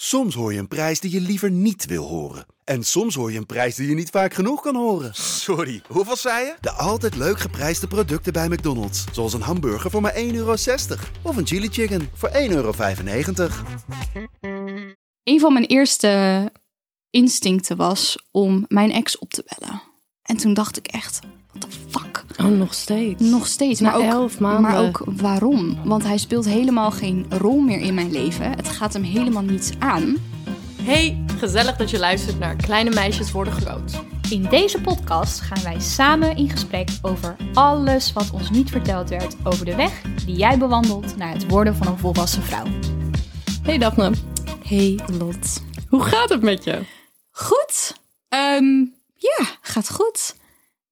Soms hoor je een prijs die je liever niet wil horen. En soms hoor je een prijs die je niet vaak genoeg kan horen. Sorry, hoeveel zei je? De altijd leuk geprijsde producten bij McDonald's. Zoals een hamburger voor maar 1,60 euro. Of een chili chicken voor 1,95 euro. een van mijn eerste instincten was om mijn ex op te bellen. En toen dacht ik echt, what the fuck? Oh, nog steeds. Nog steeds. Na maar ook, elf maanden. Maar ook waarom? Want hij speelt helemaal geen rol meer in mijn leven. Het gaat hem helemaal niets aan. Hey, gezellig dat je luistert naar Kleine Meisjes Worden Groot. In deze podcast gaan wij samen in gesprek over alles wat ons niet verteld werd over de weg die jij bewandelt naar het worden van een volwassen vrouw. Hey Daphne, Hey Lot. hoe gaat het met je? Goed. Ehm, ja, gaat goed.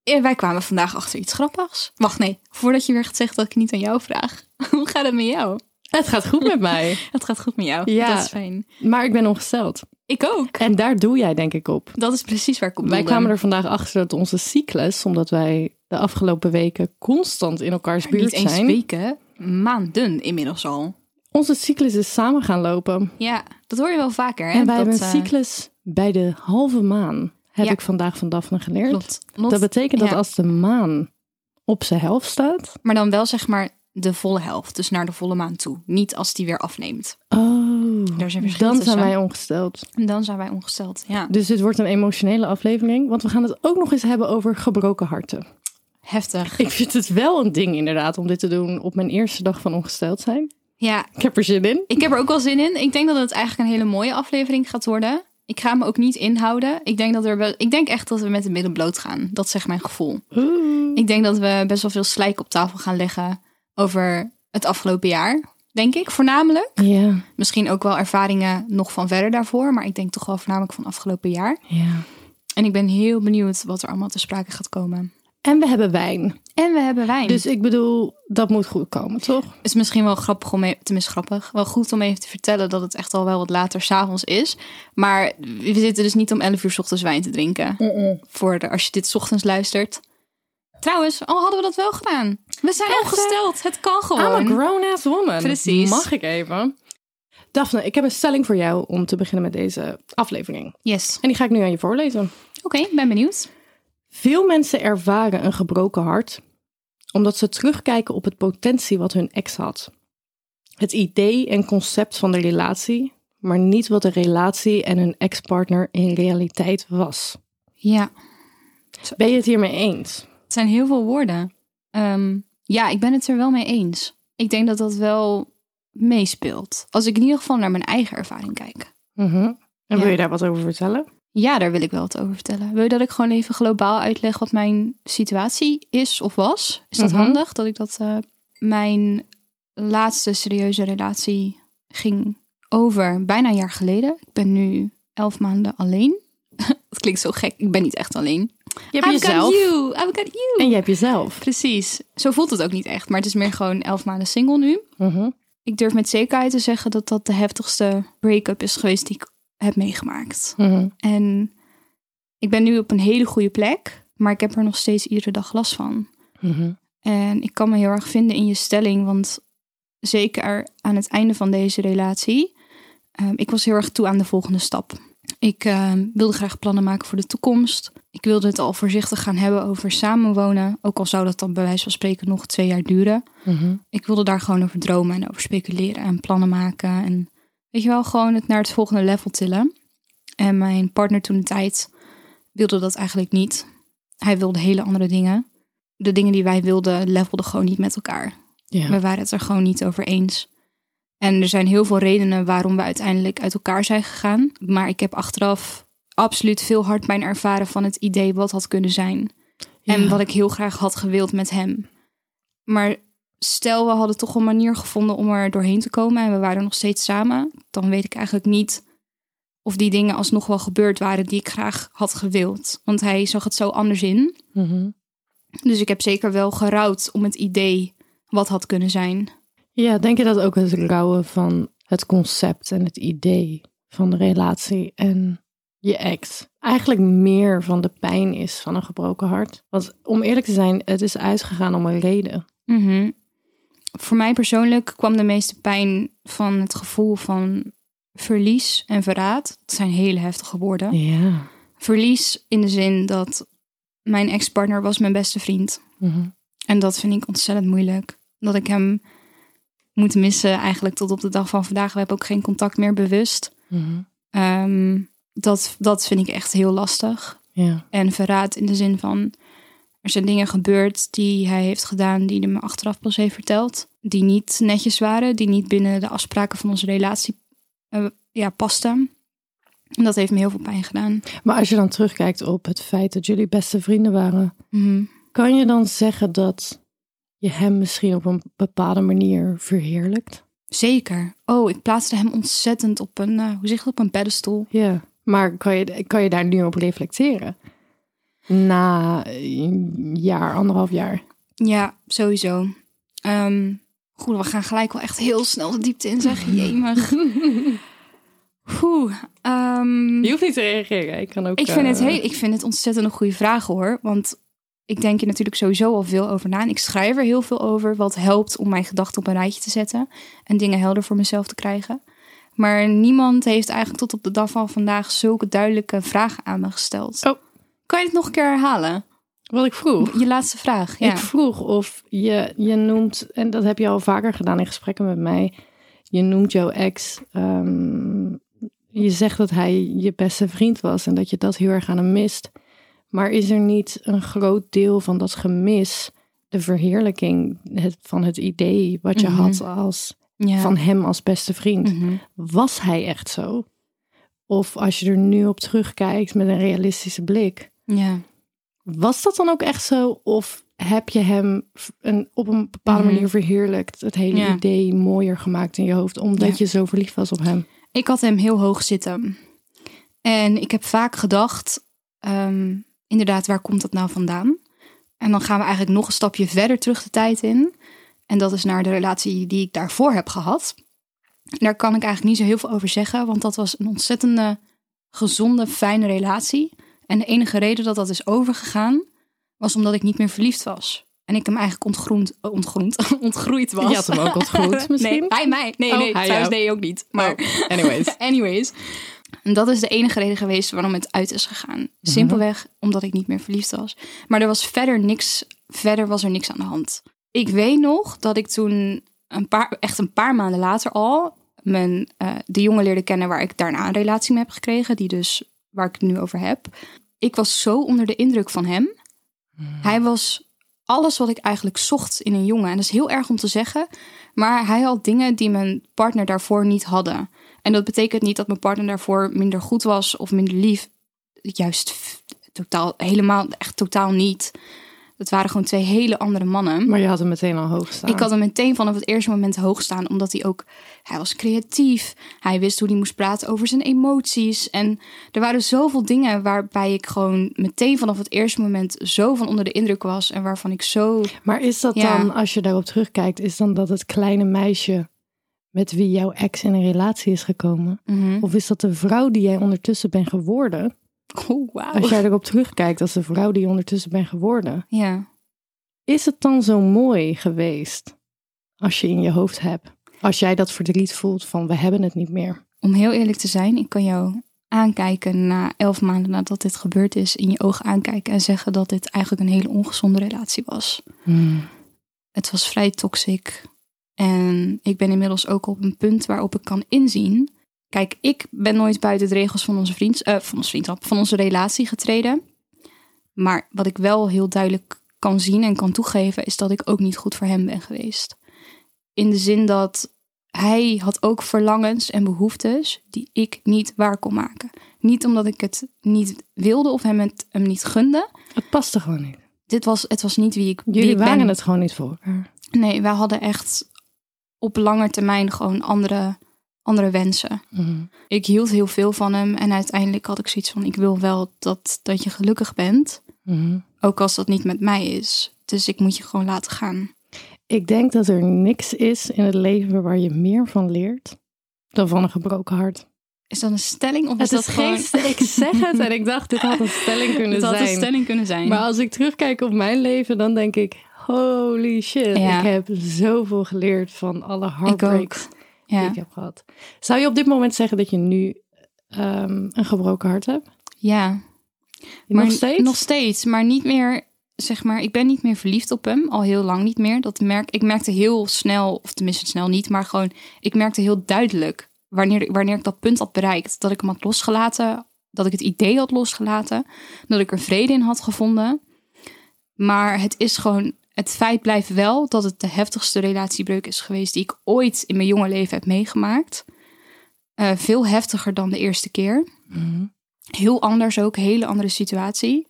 Eh, wij kwamen vandaag achter iets grappigs. Wacht, nee. Voordat je weer gaat zeggen dat ik niet aan jou vraag. Hoe gaat het met jou? Het gaat goed met mij, Het gaat goed met jou. Ja. Dat is fijn. maar ik ben ongesteld. Ik ook. En daar doe jij denk ik op. Dat is precies waar ik op Wij doelde. kwamen er vandaag achter dat onze cyclus, omdat wij de afgelopen weken constant in elkaars buurt Niet eens zijn, weken, maanden inmiddels al. onze cyclus is samen gaan lopen. Ja, dat hoor je wel vaker. Hè? en wij dat, hebben een eh, cyclus bij de halve maan, heb Ja. ik vandaag van Daphne geleerd. klopt. Lot- Dat betekent dat ja, als de maan op zijn helft staat, Maar dan wel zeg maar de volle helft, dus naar de volle maan toe. Niet als die weer afneemt. oh, Er is een verschil dan zijn tussen. wij ongesteld. En dan zijn wij ongesteld. Ja, Dus dit wordt een emotionele aflevering, want we gaan het ook nog eens hebben over gebroken harten. heftig. Ik vind het wel een ding inderdaad om dit te doen op mijn eerste dag van ongesteld zijn. Ja, Ik heb er zin in. ik heb er ook wel zin in. Ik denk dat het eigenlijk een hele mooie aflevering gaat worden. Ik ga me ook niet inhouden. Ik denk, dat er wel, ik denk echt dat we met de midden bloot gaan. Dat zegt mijn gevoel. Ik denk dat we best wel veel slijk op tafel gaan leggen over het afgelopen jaar. Denk ik, voornamelijk. Ja, Misschien ook wel ervaringen nog van verder daarvoor. Maar ik denk toch wel voornamelijk van afgelopen jaar. ja. En ik ben heel benieuwd wat er allemaal te sprake gaat komen. En we hebben wijn. En we hebben wijn. Dus Dus ik bedoel, dat moet goed komen, toch? het is misschien wel grappig om even, tenminste grappig, wel goed om even te vertellen dat het echt al wel wat later s'avonds is. Maar we zitten dus niet om 11 uur 's ochtends wijn te drinken. Voor de, als je dit 's ochtends luistert. Trouwens, al hadden we dat wel gedaan. We zijn Echt, hè? opgesteld. Het kan I'm a gewoon. grown-ass woman. Oh, Precies. Mag ik even? Daphne, ik heb een stelling voor jou om te beginnen met deze aflevering. Yes. En die ga ik nu aan je voorlezen. Oké, ben benieuwd. Veel mensen ervaren een gebroken hart omdat ze terugkijken op het potentie wat hun ex had. Het idee en concept van de relatie, maar niet wat de relatie en hun ex-partner in realiteit was. Ja. Ben je het hiermee eens? Het zijn heel veel woorden. Ehm, ja, ik ben het er wel mee eens. Ik denk dat dat wel meespeelt. Als ik in ieder geval naar mijn eigen ervaring kijk. En Ja. wil je daar wat over vertellen? Ja, daar wil ik wel wat over vertellen. Wil je dat ik gewoon even globaal uitleg wat mijn situatie is of was? Is dat Mhm. handig dat ik dat... eh, mijn laatste serieuze relatie ging over bijna een jaar geleden. Ik ben nu elf maanden alleen. dat klinkt zo gek. Ik ben niet echt alleen. Je I've got you. I've got you. En je hebt jezelf. Precies. Zo voelt het ook niet echt. Maar het is meer gewoon elf maanden single nu. Mhm. Ik durf met zekerheid te zeggen dat dat de heftigste break-up is geweest die ik heb meegemaakt. Mhm. En ik ben nu op een hele goede plek. Maar ik heb er nog steeds iedere dag last van. Mhm. En ik kan me heel erg vinden in je stelling. Want zeker aan het einde van deze relatie. ehm, ik was heel erg toe aan de volgende stap. Ik ehm, wilde graag plannen maken voor de toekomst. Ik wilde het al voorzichtig gaan hebben over samenwonen. Ook al zou dat dan bij wijze van spreken nog twee jaar duren. Mhm. Ik wilde daar gewoon over dromen en over speculeren en plannen maken. En weet je wel, gewoon het naar het volgende level tillen. En mijn partner toen de tijd wilde dat eigenlijk niet. Hij wilde hele andere dingen. De dingen die wij wilden, levelden gewoon niet met elkaar. Ja. We waren het er gewoon niet over eens. En er zijn heel veel redenen waarom we uiteindelijk uit elkaar zijn gegaan. Maar ik heb achteraf absoluut veel hardpijn ervaren van het idee wat had kunnen zijn. En Ja. wat ik heel graag had gewild met hem. Maar stel we hadden toch een manier gevonden om er doorheen te komen en we waren nog steeds samen. Dan weet ik eigenlijk niet of die dingen alsnog wel gebeurd waren die ik graag had gewild. Want hij zag het zo anders in. Dus ik heb zeker wel gerouwd om het idee wat had kunnen zijn. Ja, denk je dat ook het rouwen van het concept en het idee van de relatie en je ex eigenlijk meer van de pijn is van een gebroken hart? Want om eerlijk te zijn, het is uitgegaan om een reden. Mhm. Voor mij persoonlijk kwam de meeste pijn van het gevoel van verlies en verraad. Dat zijn hele heftige woorden. Ja. Verlies in de zin dat mijn ex-partner was mijn beste vriend. En dat vind ik ontzettend moeilijk. Dat ik hem moet missen eigenlijk tot op de dag van vandaag. We hebben ook geen contact meer bewust. Ehm, dat, dat vind ik echt heel lastig. Ja. En verraad in de zin van... Er zijn dingen gebeurd die hij heeft gedaan die hij me achteraf pas heeft verteld. Die niet netjes waren. Die niet binnen de afspraken van onze relatie eh, ja, pasten. En dat heeft me heel veel pijn gedaan. Maar als je dan terugkijkt op het feit dat jullie beste vrienden waren, Mhm. kan je dan zeggen dat je hem misschien op een bepaalde manier verheerlijkt? Zeker. Oh, ik plaatste hem ontzettend op een, eh, hoe zeg je dat, op een pedestal. Ja, maar kan je, kan je daar nu op reflecteren? Na een jaar, anderhalf jaar. Ja, sowieso. Ehm, goed, we gaan gelijk wel echt heel snel de diepte in, zeg. Jemig. Oeh, ehm, hoeft niet te reageren. Ik kan ook. eh, ik, vind het heel, ik vind het ontzettend een goede vraag hoor. Want ik denk er natuurlijk sowieso al veel over na. En ik schrijf er heel veel over. Wat helpt om mijn gedachten op een rijtje te zetten. En dingen helder voor mezelf te krijgen. Maar niemand heeft eigenlijk tot op de dag van vandaag zulke duidelijke vragen aan me gesteld. Oh. Kan je het nog een keer herhalen? Wat ik vroeg. Je laatste vraag. Ja. Ik vroeg of je, je noemt, en dat heb je al vaker gedaan in gesprekken met mij. Je noemt jouw ex. ehm, je zegt dat hij je beste vriend was en dat je dat heel erg aan hem mist. Maar is er niet een groot deel van dat gemis, de verheerlijking het, van het idee wat je had als ja. van hem als beste vriend. Mhm. Was hij echt zo? Of als je er nu op terugkijkt met een realistische blik, ja. was dat dan ook echt zo? Of heb je hem v- een, op een bepaalde Mhm. manier verheerlijkt, het hele Ja. idee mooier gemaakt in je hoofd, omdat Ja. je zo verliefd was op hem? Ik had hem heel hoog zitten. En ik heb vaak gedacht, ehm, inderdaad, waar komt dat nou vandaan? En dan gaan we eigenlijk nog een stapje verder terug de tijd in. En dat is naar de relatie die ik daarvoor heb gehad. Daar kan ik eigenlijk niet zo heel veel over zeggen, want dat was een ontzettende gezonde, fijne relatie. En de enige reden dat dat is overgegaan, was omdat ik niet meer verliefd was. En ik hem eigenlijk ontgroend, eh, ontgroend, ontgroeid was. Je had hem ook ontgroend, misschien? Nee, hij mij. Nee, Oh, nee, hij trouwens jou. Oh. nee ook niet. Maar anyways. Anyways. En dat is de enige reden geweest waarom het uit is gegaan. Simpelweg omdat ik niet meer verliefd was. Maar er was verder niks, verder was er niks aan de hand. Ik weet nog dat ik toen, een paar, echt een paar maanden later al, mijn, eh, de jongen leerde kennen waar ik daarna een relatie mee heb gekregen. Die dus, waar ik het nu over heb. Ik was zo onder de indruk van hem. Hij was alles wat ik eigenlijk zocht in een jongen. En dat is heel erg om te zeggen. Maar hij had dingen die mijn partner daarvoor niet hadden. En dat betekent niet dat mijn partner daarvoor minder goed was of minder lief. Juist f- totaal, helemaal, echt totaal niet. Dat waren gewoon twee hele andere mannen. Maar je had hem meteen al hoog staan. Ik had hem meteen vanaf het eerste moment hoog staan, omdat hij ook, hij was creatief. Hij wist hoe hij moest praten over zijn emoties. En er waren zoveel dingen waarbij ik gewoon meteen vanaf het eerste moment zo van onder de indruk was. En waarvan ik zo. Maar is dat Ja. dan, als je daarop terugkijkt, is dan dat het kleine meisje met wie jouw ex in een relatie is gekomen? Mhm. Of is dat de vrouw die jij ondertussen bent geworden? Oh, wauw. Als jij erop terugkijkt als de vrouw die je ondertussen bent geworden, Ja. is het dan zo mooi geweest als je in je hoofd hebt? Als jij dat verdriet voelt van we hebben het niet meer. Om heel eerlijk te zijn, ik kan jou aankijken na elf maanden nadat dit gebeurd is, in je ogen aankijken en zeggen dat dit eigenlijk een hele ongezonde relatie was. Het was vrij toxic. En ik ben inmiddels ook op een punt waarop ik kan inzien. Kijk, ik ben nooit buiten de regels van onze, vriends, eh, van onze vriendschap, van onze relatie getreden. Maar wat ik wel heel duidelijk kan zien en kan toegeven, is dat ik ook niet goed voor hem ben geweest. In de zin dat hij had ook verlangens en behoeftes die ik niet waar kon maken. Niet omdat ik het niet wilde of hem het hem niet gunde. Het paste gewoon niet. Dit was, het was niet wie ik, wie Jullie ik waren ben. het gewoon niet voor elkaar. Nee, wij hadden echt op lange termijn gewoon andere andere wensen. Mhm. Ik hield heel veel van hem en uiteindelijk had ik zoiets van: ik wil wel dat, dat je gelukkig bent, Mhm. ook als dat niet met mij is. Dus ik moet je gewoon laten gaan. Ik denk dat er niks is in het leven waar je meer van leert dan van een gebroken hart. Is dat een stelling of is dat gewoon... Ik zeg het en ik dacht, dit had een stelling kunnen Het had een zijn. stelling kunnen zijn. Maar als ik terugkijk op mijn leven, dan denk ik, holy shit. Ja. Ik heb zoveel geleerd van alle ik ook. heartbreaks die Ja. ik heb gehad. Zou je op dit moment zeggen dat je nu ehm, een gebroken hart hebt? ja. nog steeds? Nog steeds, maar niet meer, zeg maar, ik ben niet meer verliefd op hem, al heel lang niet meer. Dat merk, ik merkte heel snel, of tenminste snel niet, maar gewoon, ik merkte heel duidelijk wanneer, wanneer ik dat punt had bereikt, dat ik hem had losgelaten, dat ik het idee had losgelaten, dat ik er vrede in had gevonden. Maar het is gewoon, het feit blijft wel dat het de heftigste relatiebreuk is geweest die ik ooit in mijn jonge leven heb meegemaakt. Eh, veel heftiger dan de eerste keer. Heel anders ook, hele andere situatie.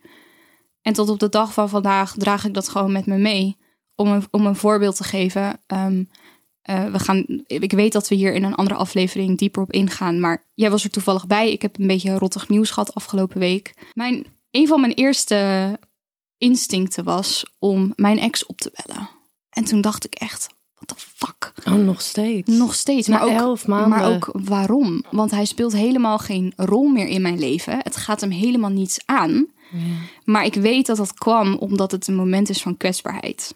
En tot op de dag van vandaag draag ik dat gewoon met me mee. Om een, om een voorbeeld te geven. ehm, eh, we gaan, ik weet dat we hier in een andere aflevering dieper op ingaan. Maar jij was er toevallig bij. Ik heb een beetje rottig nieuws gehad afgelopen week. Mijn, een van mijn eerste instincten was om mijn ex op te bellen. En toen dacht ik echt, what the fuck? Oh, nog steeds. Nog steeds. Na maar ook, elf maanden. Maar ook waarom? Want hij speelt helemaal geen rol meer in mijn leven. Het gaat hem helemaal niets aan. Maar ik weet dat dat kwam omdat het een moment is van kwetsbaarheid.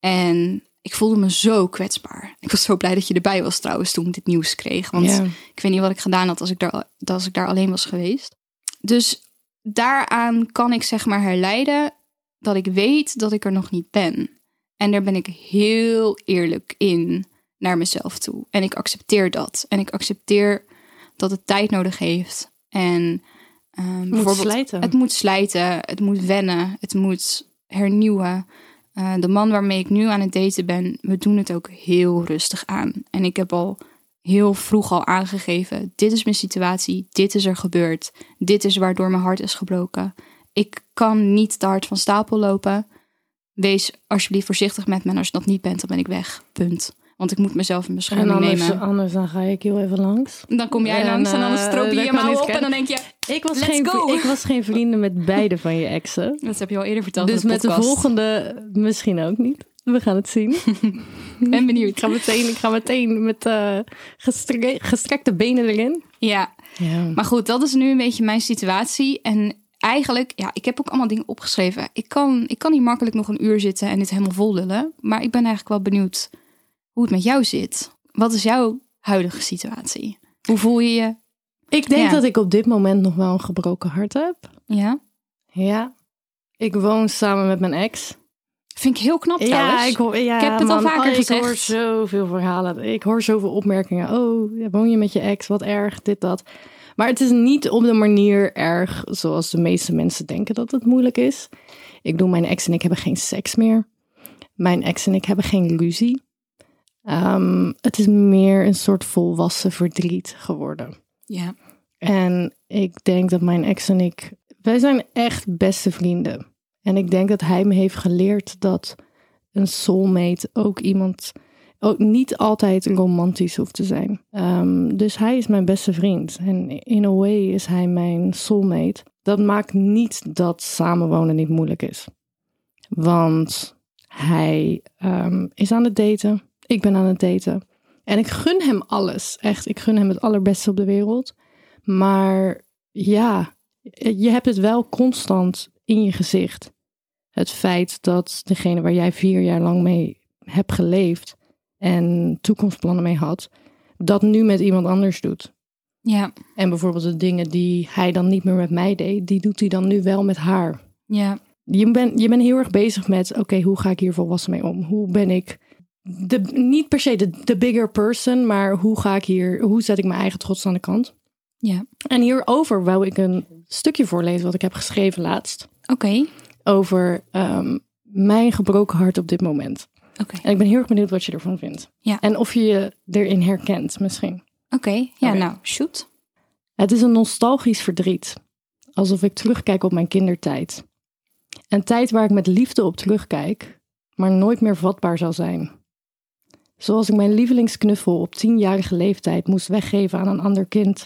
En ik voelde me zo kwetsbaar. Ik was zo blij dat je erbij was trouwens toen ik dit nieuws kreeg. Want Ja. ik weet niet wat ik gedaan had als ik, daar, als ik daar alleen was geweest. Dus daaraan kan ik zeg maar herleiden dat ik weet dat ik er nog niet ben. En daar ben ik heel eerlijk in naar mezelf toe. En ik accepteer dat. En ik accepteer dat het tijd nodig heeft. En ehm, bijvoorbeeld, slijten. Het moet slijten. Het moet wennen. Het moet hernieuwen. Eh, de man waarmee ik nu aan het daten ben, we doen het ook heel rustig aan. En ik heb al heel vroeg al aangegeven: dit is mijn situatie, dit is er gebeurd, dit is waardoor mijn hart is gebroken. Ik kan niet te hard van stapel lopen. Wees alsjeblieft voorzichtig met me. En als je dat niet bent, dan ben ik weg. Punt. Want ik moet mezelf in En bescherming anders, nemen. anders dan ga ik heel even langs. Dan kom jij En, langs en dan eh, strop je dat je kan mouw niet op en dan kennen. denk je... Ik was, Let's geen, go. ik was geen vrienden met beide van je exen. Dat heb je al eerder verteld Dus in de met de podcast. volgende misschien ook niet. We gaan het zien. Ben benieuwd. Ik ga meteen, ik ga meteen met eh, gestre- gestrekte benen erin. Ja, Ja. maar goed, dat is nu een beetje mijn situatie. En eigenlijk, ja, ik heb ook allemaal dingen opgeschreven. Ik kan, ik kan hier makkelijk nog een uur zitten en dit helemaal vol lullen. Maar ik ben eigenlijk wel benieuwd hoe het met jou zit. Wat is jouw huidige situatie? Hoe voel je je? Ik denk Ja. dat ik op dit moment nog wel een gebroken hart heb. Ja, Ja. Ik woon samen met mijn ex. vind ik heel knap trouwens. hoor, ja, Ik heb het al man, vaker oh, gezegd. Ik hoor zoveel verhalen. Ik hoor zoveel opmerkingen. Oh, ja, woon je met je ex? Wat erg, dit, dat. Maar het is niet op de manier erg zoals de meeste mensen denken dat het moeilijk is. Ik doe mijn ex en ik hebben geen seks meer. Mijn ex en ik hebben geen ruzie. Ehm, het is meer een soort volwassen verdriet geworden. Ja, En ik denk dat mijn ex en ik, wij zijn echt beste vrienden. En ik denk dat hij me heeft geleerd dat een soulmate ook iemand ook niet altijd romantisch hoeft te zijn. Ehm, dus hij is mijn beste vriend. En in a way is hij mijn soulmate. Dat maakt niet dat samenwonen niet moeilijk is. Want hij ehm, is aan het daten. Ik ben aan het daten. En ik gun hem alles. Echt, ik gun hem het allerbeste op de wereld. Maar ja, je hebt het wel constant in je gezicht. Het feit dat degene waar jij vier jaar lang mee hebt geleefd en toekomstplannen mee had, dat nu met iemand anders doet. ja, En bijvoorbeeld de dingen die hij dan niet meer met mij deed, die doet hij dan nu wel met haar. ja. Je bent je bent heel erg bezig met, oké, hoe ga ik hier volwassen mee om? Hoe ben ik, de, niet per se de, de bigger person, maar hoe ga ik hier, hoe zet ik mijn eigen trots aan de kant? ja. En hierover wou ik een stukje voorlezen wat ik heb geschreven laatst. Oké, Over ehm, mijn gebroken hart op dit moment. oké, Eh, En ik ben heel erg benieuwd wat je ervan vindt. Ja. En of je je erin herkent misschien. oké. Ja, Oké. nou, shoot. Het is een nostalgisch verdriet. Alsof ik terugkijk op mijn kindertijd. Een tijd waar ik met liefde op terugkijk, maar nooit meer vatbaar zal zijn. Zoals ik mijn lievelingsknuffel op tienjarige leeftijd moest weggeven aan een ander kind.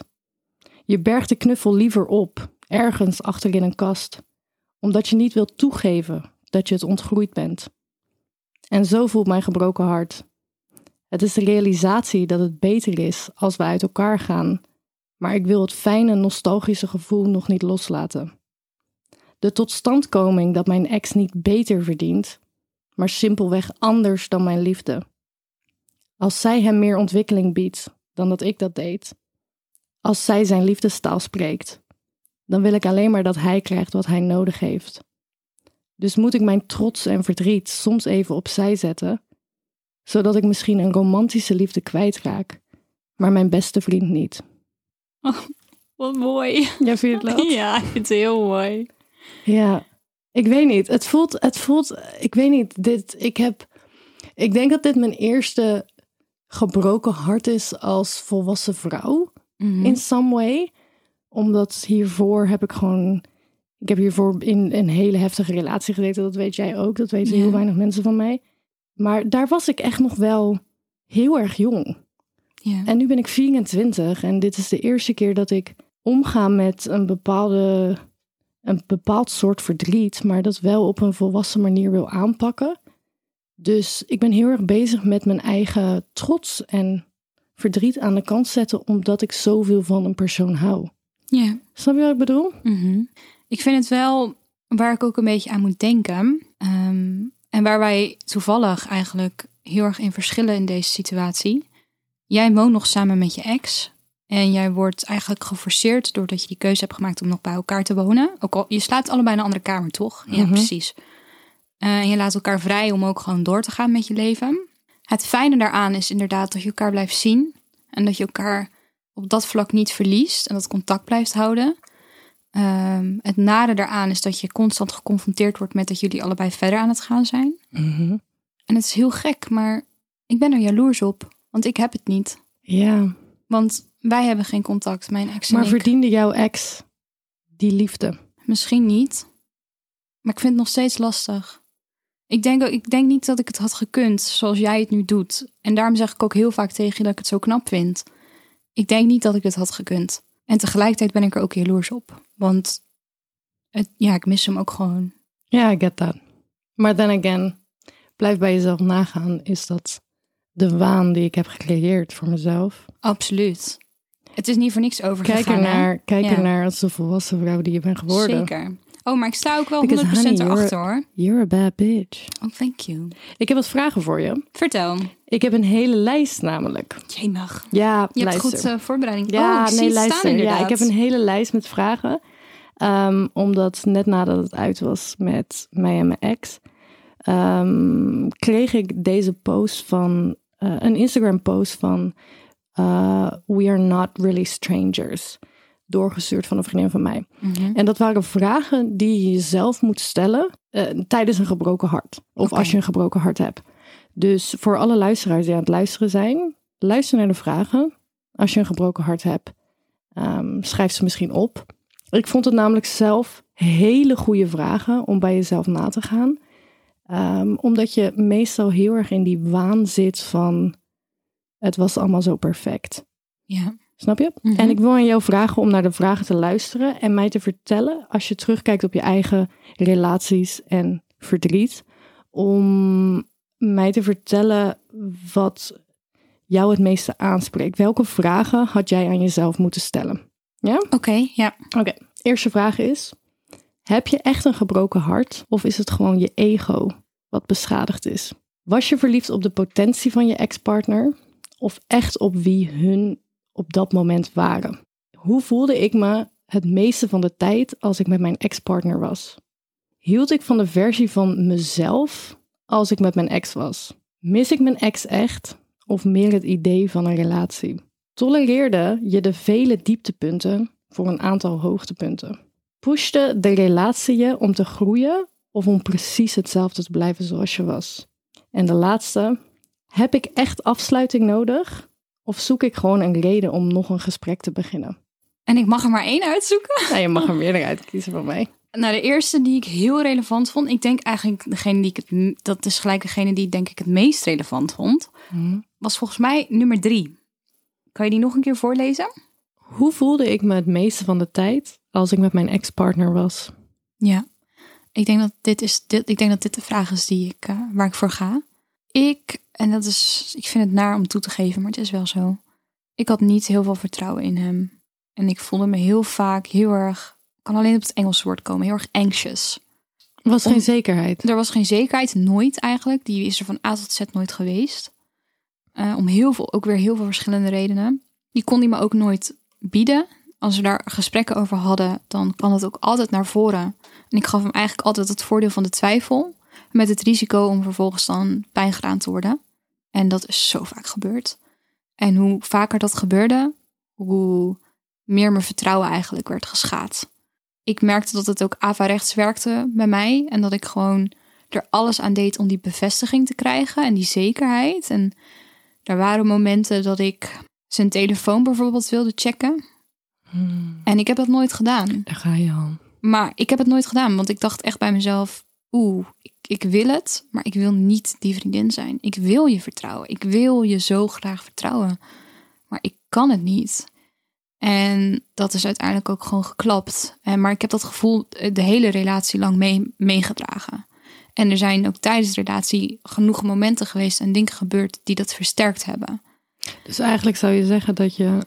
Je bergt de knuffel liever op, ergens achter in een kast, omdat je niet wilt toegeven dat je het ontgroeid bent. En zo voelt mijn gebroken hart. Het is de realisatie dat het beter is als we uit elkaar gaan, maar ik wil het fijne nostalgische gevoel nog niet loslaten. De totstandkoming dat mijn ex niet beter verdient, maar simpelweg anders dan mijn liefde. Als zij hem meer ontwikkeling biedt dan dat ik dat deed. Als zij zijn liefdestaal spreekt, dan wil ik alleen maar dat hij krijgt wat hij nodig heeft. Dus moet ik mijn trots en verdriet soms even opzij zetten, zodat ik misschien een romantische liefde kwijtraak, maar mijn beste vriend niet. Wat mooi. Jij vindt het leuk? Ja, ik vind het heel mooi. Ja, ik weet niet. Het voelt, het voelt, ik weet niet. Dit, ik heb, ik denk dat dit mijn eerste gebroken hart is als volwassen vrouw. Mhm. In some way. Omdat hiervoor heb ik gewoon, ik heb hiervoor in een hele heftige relatie gezeten. Dat weet jij ook. Dat weten Ja. heel weinig mensen van mij. Maar daar was ik echt nog wel heel erg jong. Ja. En nu ben ik 24 en dit is de eerste keer dat ik omga met een, bepaalde, een bepaald soort verdriet, maar dat wel op een volwassen manier wil aanpakken. Dus ik ben heel erg bezig met mijn eigen trots en verdriet aan de kant zetten, omdat ik zoveel van een persoon hou. ja. Snap je wat ik bedoel? Mhm. Ik vind het wel waar ik ook een beetje aan moet denken. ehm, en waar wij toevallig eigenlijk heel erg in verschillen in deze situatie. Jij woont nog samen met je ex. En jij wordt eigenlijk geforceerd doordat je die keuze hebt gemaakt om nog bij elkaar te wonen. Ook al, je slaapt allebei in een andere kamer, toch? Ja, precies. Eh, en je laat elkaar vrij om ook gewoon door te gaan met je leven. Het fijne daaraan is inderdaad dat je elkaar blijft zien. En dat je elkaar op dat vlak niet verliest en dat contact blijft houden. Ehm, het nare daaraan is dat je constant geconfronteerd wordt met dat jullie allebei verder aan het gaan zijn. En het is heel gek, maar ik ben er jaloers op, want ik heb het niet. Ja, Want wij hebben geen contact, mijn ex en maar ik. verdiende jouw ex die liefde? Misschien niet, maar ik vind het nog steeds lastig. Ik denk, ook- ik denk niet dat ik het had gekund zoals jij het nu doet. En daarom zeg ik ook heel vaak tegen je dat ik het zo knap vind. Ik denk niet dat ik het had gekund. En tegelijkertijd ben ik er ook jaloers op. Want het, ja, ik mis hem ook gewoon. Ja, I get that. Maar then again, blijf bij jezelf nagaan. Is dat de waan die ik heb gecreëerd voor mezelf? Absoluut. Het is niet voor niks overgegaan. Kijk ernaar, hè? kijk Ja, ernaar als de volwassen vrouw die je bent geworden. Zeker. Oh, maar ik sta ook wel 100% Because, honey, you're- erachter hoor. You're a bad bitch. Oh, thank you. Ik heb wat vragen voor je. Vertel. Ik heb een hele lijst namelijk. Jij mag. Ja, Je hebt luister. goed eh, voorbereiding. Ja, oh, ik zie nee, het staan luister. inderdaad. ja, ik heb een hele lijst met vragen. Ehm, omdat net nadat het uit was met mij en mijn ex, ehm, kreeg ik deze post van eh, een Instagram-post van eh, We are not really strangers. Doorgestuurd van een vriendin van mij. Mhm. En dat waren vragen die je jezelf moet stellen eh, tijdens een gebroken hart. Of Oké. als je een gebroken hart hebt. Dus voor alle luisteraars die aan het luisteren zijn, luister naar de vragen. Als je een gebroken hart hebt, ehm, schrijf ze misschien op. Ik vond het namelijk zelf hele goede vragen om bij jezelf na te gaan. Ehm, omdat je meestal heel erg in die waan zit van het was allemaal zo perfect. Ja. Snap je? En ik wil aan jou vragen om naar de vragen te luisteren en mij te vertellen, als je terugkijkt op je eigen relaties en verdriet, om mij te vertellen wat jou het meeste aanspreekt. Welke vragen had jij aan jezelf moeten stellen? Ja? Oké, ja. Oké, eerste vraag is: heb je echt een gebroken hart of is het gewoon je ego wat beschadigd is? Was je verliefd op de potentie van je ex-partner of echt op wie hun op dat moment waren? Hoe voelde ik me het meeste van de tijd als ik met mijn ex-partner was? Hield ik van de versie van mezelf als ik met mijn ex was? Mis ik mijn ex echt of meer het idee van een relatie? Tolereerde je de vele dieptepunten voor een aantal hoogtepunten? Pushte de relatie je om te groeien of om precies hetzelfde te blijven zoals je was? En de laatste, heb ik echt afsluiting nodig of zoek ik gewoon een reden om nog een gesprek te beginnen? En ik mag er maar één uitzoeken. Nou, je mag er meerdere uit kiezen van mij. Nou, de eerste die ik heel relevant vond. Ik denk eigenlijk degene die ik het. m- Dat is gelijk degene die ik denk ik het meest relevant vond. Was volgens mij nummer drie. Kan je die nog een keer voorlezen? Hoe voelde ik me het meeste van de tijd als ik met mijn ex-partner was? Ja, ik denk dat dit, is, dit, ik denk dat dit de vraag is die ik, eh, waar ik voor ga. Ik, en dat is, ik vind het naar om toe te geven, maar het is wel zo. Ik had niet heel veel vertrouwen in hem. En ik voelde me heel vaak heel erg, ik kan alleen op het Engelse woord komen, heel erg anxious. Er was Om- geen zekerheid. Er was geen zekerheid, nooit eigenlijk. Die is er van A tot Z nooit geweest. Eh, om heel veel, ook weer heel veel verschillende redenen. Die kon hij me ook nooit bieden. Als we daar gesprekken over hadden, dan kwam dat ook altijd naar voren. En ik gaf hem eigenlijk altijd het voordeel van de twijfel. Met het risico om vervolgens dan pijn gedaan te worden. En dat is zo vaak gebeurd. En hoe vaker dat gebeurde, hoe meer mijn vertrouwen eigenlijk werd geschaad ik merkte dat het ook averechts werkte bij mij. En dat ik gewoon er alles aan deed om die bevestiging te krijgen en die zekerheid. En er waren momenten dat ik zijn telefoon bijvoorbeeld wilde checken. En ik heb dat nooit gedaan. Daar ga je al. Maar ik heb het nooit gedaan, want ik dacht echt bij mezelf: oeh, ik, ik wil het, maar ik wil niet die vriendin zijn. Ik wil je vertrouwen. Ik wil je zo graag vertrouwen. Maar ik kan het niet. En dat is uiteindelijk ook gewoon geklapt. En, maar ik heb dat gevoel eh, de hele relatie lang mee, meegedragen. En er zijn ook tijdens de relatie genoeg momenten geweest en dingen gebeurd die dat versterkt hebben. Dus eigenlijk zou je zeggen dat je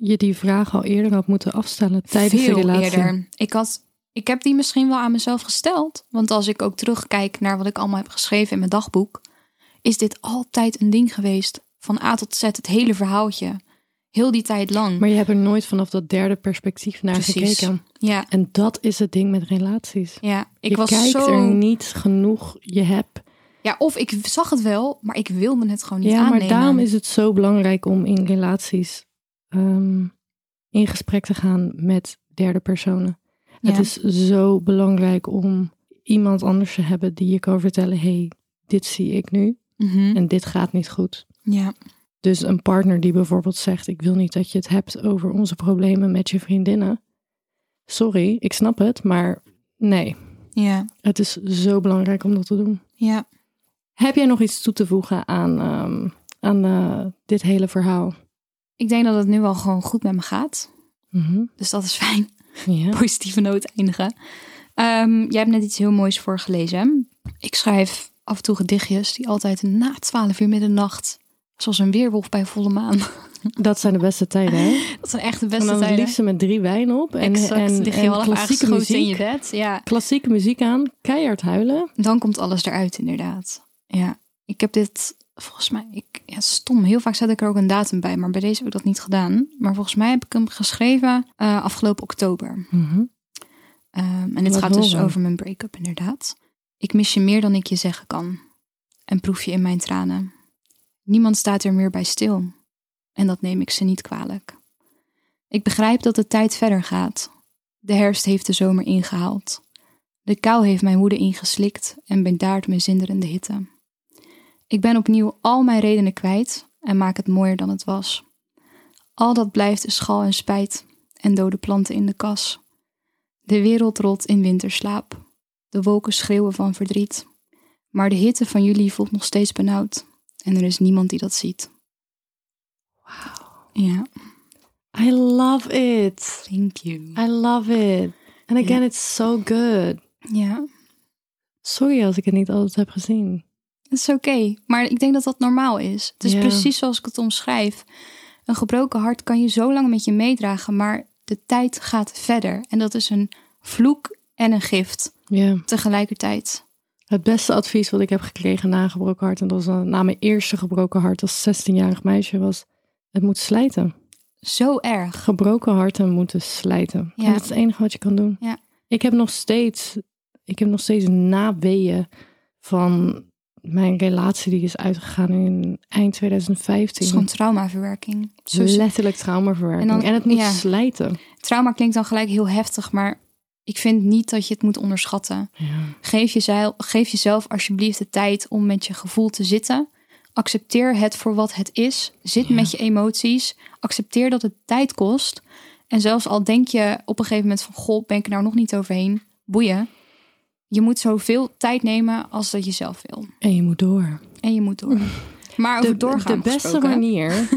je die vraag al eerder had moeten afstellen tijdens Veel de relatie. eerder. Ik, had, ik heb die misschien wel aan mezelf gesteld. Want als ik ook terugkijk naar wat ik allemaal heb geschreven in mijn dagboek, is dit altijd een ding geweest. Van A tot Z, het hele verhaaltje. Heel die tijd lang. Maar je hebt er nooit vanaf dat derde perspectief naar Precies. gekeken. Ja, En dat is het ding met relaties. ja. Ik je was kijkt zo. er niet genoeg. Je hebt. Ja, of ik zag het wel, maar ik wilde het gewoon niet ja, aannemen. maar daarom is het zo belangrijk om in relaties ehm, in gesprek te gaan met derde personen. Het Ja. is zo belangrijk om iemand anders te hebben die je kan vertellen: hey, dit zie ik nu Mhm. en dit gaat niet goed. Ja, Dus een partner die bijvoorbeeld zegt: Ik wil niet dat je het hebt over onze problemen met je vriendinnen. Sorry, ik snap het, maar nee. ja, Het is zo belangrijk om dat te doen. ja. Heb jij nog iets toe te voegen aan, ehm, aan eh, dit hele verhaal? Ik denk dat het nu wel gewoon goed met me gaat. Mhm. Dus dat is fijn. Ja. positieve noot eindigen. Ehm, jij hebt net iets heel moois voorgelezen. Ik schrijf af en toe gedichtjes die altijd na 12 uur middernacht, zoals een weerwolf bij volle maan. Dat zijn de beste tijden, hè? Dat zijn echt de en beste dan het tijden. liefst met drie wijn op. En, exact, en, lig je en half klassieke aangeschoten in je muziek, bed. Ja, klassieke muziek aan, keihard huilen. dan komt alles eruit inderdaad. Ja, ik heb dit volgens mij, ik, ja, stom, heel vaak zet ik er ook een datum bij, maar bij deze heb ik dat niet gedaan. Maar volgens mij heb ik hem geschreven eh, afgelopen oktober. Ehm, en dit Mhm. Laat gaat dus horen. over mijn break-up, inderdaad. Ik mis je meer dan ik je zeggen kan. En proef je in mijn tranen. Niemand staat er meer bij stil. En dat neem ik ze niet kwalijk. Ik begrijp dat de tijd verder gaat. De herfst heeft de zomer ingehaald. De kou heeft mijn woede ingeslikt en bedaart mijn zinderende hitte. Ik ben opnieuw al mijn redenen kwijt en maak het mooier dan het was. Al dat blijft is schal en spijt en dode planten in de kas. De wereld rolt in winterslaap. De wolken schreeuwen van verdriet. Maar de hitte van jullie voelt nog steeds benauwd. En er is niemand die dat ziet. Wauw. Ja, I love it. thank you. I love it. And again, Ja. it's so good. Ja, Sorry als ik het niet altijd heb gezien. het is oké. Maar ik denk dat dat normaal is. Het is Ja. precies zoals ik het omschrijf. Een gebroken hart kan je zo lang met je meedragen, maar de tijd gaat verder. En dat is een vloek en een gift Ja. tegelijkertijd. Het beste advies wat ik heb gekregen na een gebroken hart, en dat was na mijn eerste gebroken hart als 16-jarig meisje, was: het moet slijten. Zo erg. Gebroken harten moeten slijten. Ja. En dat is het enige wat je kan doen. Ja. Ik heb nog steeds, ik heb nog steeds naweeën van mijn relatie die is uitgegaan in eind Het is gewoon 2015. traumaverwerking. Zo is Letterlijk traumaverwerking. En En, dan- het moet ja. slijten. Trauma klinkt dan gelijk heel heftig, maar ik vind niet dat je het moet onderschatten. Geef, jezelf, geef jezelf alsjeblieft de tijd om met je gevoel te zitten. Accepteer het voor wat het is. Zit met je emoties. Accepteer dat het tijd kost. En zelfs al denk je op een gegeven moment van... Goh, ben ik er nou nog niet overheen? boeien. Je moet zoveel tijd nemen als dat je zelf wil. En je moet door. En je moet door. Maar over de, doorgaan de beste gesproken, manier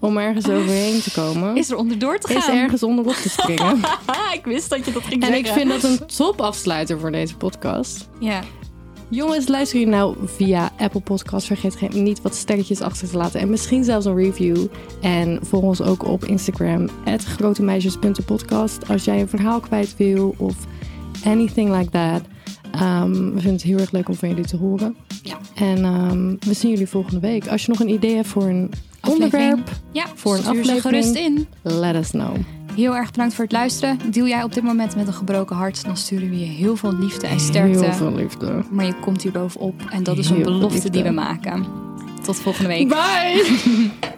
om ergens overheen te komen is, is er onderdoor te gaan. ergens onderop te springen. Ah, ik wist dat je dat ging en ik zeggen. vind dat een top afsluiter voor deze podcast. Ja. Jongens, luister je nou via Apple Podcasts. Vergeet geen, niet wat sterretjes achter te laten. En misschien zelfs een review. En volg ons ook op Instagram. grotemeisjes.podcast Als jij een verhaal kwijt wil of anything like that. Ehm, we vinden het heel erg leuk om van jullie te horen. Ja. En ehm, we zien jullie volgende week. Als je nog een idee hebt voor een onderwerp, Ja, voor een stuur ze aflevering. gerust in. let us know. Heel erg bedankt voor het luisteren. Deel jij op dit moment met een gebroken hart, dan sturen we je heel veel liefde en sterkte. Heel veel liefde. Maar je komt hier bovenop en dat is een Heel veel belofte die we liefde. maken. Tot volgende week. Bye!